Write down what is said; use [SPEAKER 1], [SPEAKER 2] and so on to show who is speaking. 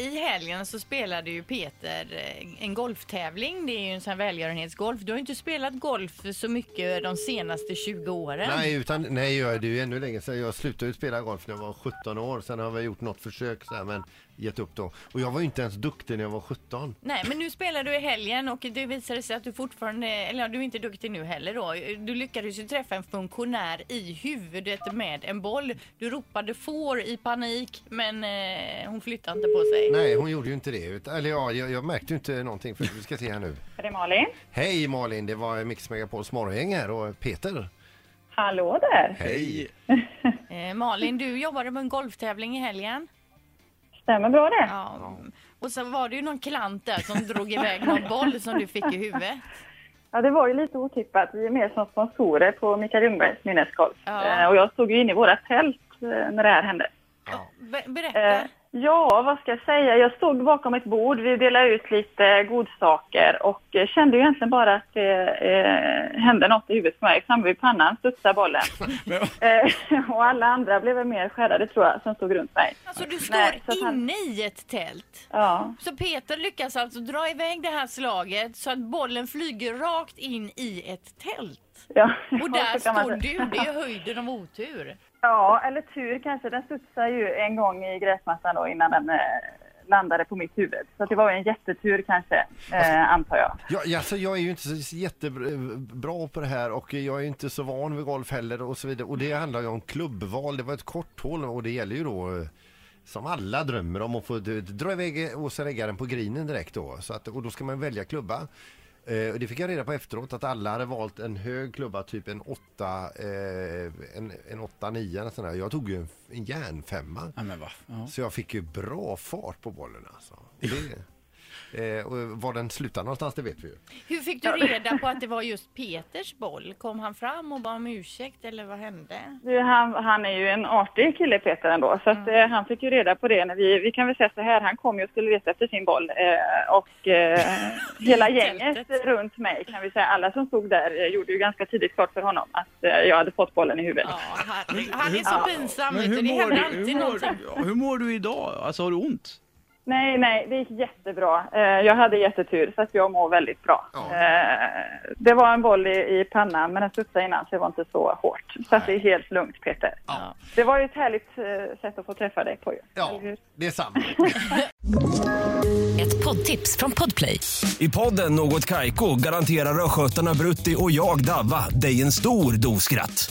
[SPEAKER 1] I helgen så spelade ju Peter eh, en golftävling. Det är ju en sån här välgörenhetsgolf. Du har ju inte spelat golf så mycket de senaste 20 åren.
[SPEAKER 2] Nej, utan, nej, jag- det är ju ännu längre sedan. Jag slutade ju spela golf när jag var 17 år. Sen har jag gjort något försök så här, men gett upp då. Och jag var ju inte ens duktig när jag var 17.
[SPEAKER 1] Nej, men nu spelar du i helgen och det visade sig att du fortfarande, eller ja, du är inte duktig nu heller då. Du lyckades ju träffa en funktionär i huvudet med en boll. Du ropade får i panik, men eh, hon flyttade inte på sig.
[SPEAKER 2] Nej, hon gjorde ju inte det. Ut- Eller ja, jag, jag märkte ju inte någonting för vi ska se här nu.
[SPEAKER 3] Det är Malin.
[SPEAKER 2] Hej Malin, det var Mix Megapols morgongäng här och Peter.
[SPEAKER 3] Hallå där.
[SPEAKER 2] Hej!
[SPEAKER 1] Eh, Malin, du jobbade på en golftävling i helgen.
[SPEAKER 3] Stämmer bra det?
[SPEAKER 1] Ja. Och så var det ju någon klant där som drog iväg någon boll som du fick i huvudet.
[SPEAKER 3] Ja, det var ju lite otippat. Vi är med som sponsorer på Mikael Lundbergs minnesgolf.
[SPEAKER 1] Ja.
[SPEAKER 3] Eh, Och jag stod ju inne i våra tält eh, när det här hände.
[SPEAKER 1] Be-
[SPEAKER 3] Eh,
[SPEAKER 1] berätta.
[SPEAKER 3] Ja, vad ska jag säga? Jag stod bakom ett bord. Vi delade ut lite godsaker och eh, kände ju egentligen bara att det eh, hände något i huvudet på mig. Framme vid pannan studsade bollen. eh, och alla andra blev väl mer skärrade tror jag, som stod runt mig.
[SPEAKER 1] Alltså du står
[SPEAKER 3] Nej, så att han-
[SPEAKER 1] inne i ett tält.
[SPEAKER 3] Ja,
[SPEAKER 1] Så Peter lyckas alltså dra iväg det här slaget så att bollen flyger rakt in i ett tält.
[SPEAKER 3] ja.
[SPEAKER 1] Och där
[SPEAKER 3] så kan man
[SPEAKER 1] står
[SPEAKER 3] säga.
[SPEAKER 1] du, det är höjden av otur.
[SPEAKER 3] Ja, eller tur kanske. Den studsade ju en gång i gräsmattan då innan den eh, landade på mitt huvud. Så att det var ju en jättetur kanske, eh, antar jag.
[SPEAKER 2] Ja, ja, alltså, jag är ju inte så jättebra på det här och jag är ju inte så van vid golf heller och så vidare. Och det handlar ju om klubbval, det var ett kort hål och det gäller ju då eh, som alla drömmer om att få d- dra iväg och sen lägga den på grinen direkt då. Så att, och då ska man välja klubba. Eh, och det fick jag reda på efteråt att alla hade valt en hög klubba, typ en 8, eh, en, en 8 9 eller sån där. Jag tog ju en, en järnfemma.
[SPEAKER 4] Ja, men va? Ja.
[SPEAKER 2] Så jag fick ju bra fart på bollen alltså. Det, Eh, och var den slutar någonstans det vet vi ju.
[SPEAKER 1] Hur fick du reda på att det var just Peters boll? Kom han fram och bad om ursäkt eller vad hände?
[SPEAKER 3] Du, han, han är ju en artig kille Peter ändå, så att, eh, han fick ju reda på det. När vi, vi kan väl säga så här, han kom ju och skulle leta efter sin boll eh, och eh, hela gänget
[SPEAKER 1] Tältet.
[SPEAKER 3] runt mig kan vi säga, alla som stod där eh, gjorde ju ganska tidigt klart för honom att eh, jag hade fått bollen i huvudet.
[SPEAKER 1] Ja, han, han är så pinsam vet du.
[SPEAKER 4] hur
[SPEAKER 1] Det
[SPEAKER 4] mår,
[SPEAKER 1] händer
[SPEAKER 4] du, hur,
[SPEAKER 1] alltid
[SPEAKER 4] mår,
[SPEAKER 1] någonting.
[SPEAKER 4] du- hur mår du idag? Alltså har du ont?
[SPEAKER 3] Nej, nej, det gick jättebra. Eh, jag hade jättetur så att jag mår väldigt bra.
[SPEAKER 2] Ja.
[SPEAKER 3] Eh, det var en boll i, i pannan men den studsade innan så det var inte så hårt. Så att det är helt lugnt Peter.
[SPEAKER 1] Ja.
[SPEAKER 3] Det var ju ett härligt eh, sätt att få träffa dig på ju.
[SPEAKER 2] Ja,
[SPEAKER 3] Eller hur?
[SPEAKER 2] det är samma.
[SPEAKER 5] Ett poddtips från Podplay.
[SPEAKER 6] I podden Något Kaiko garanterar östgötarna Brutti och jag, Davva, dig en stor dos skratt.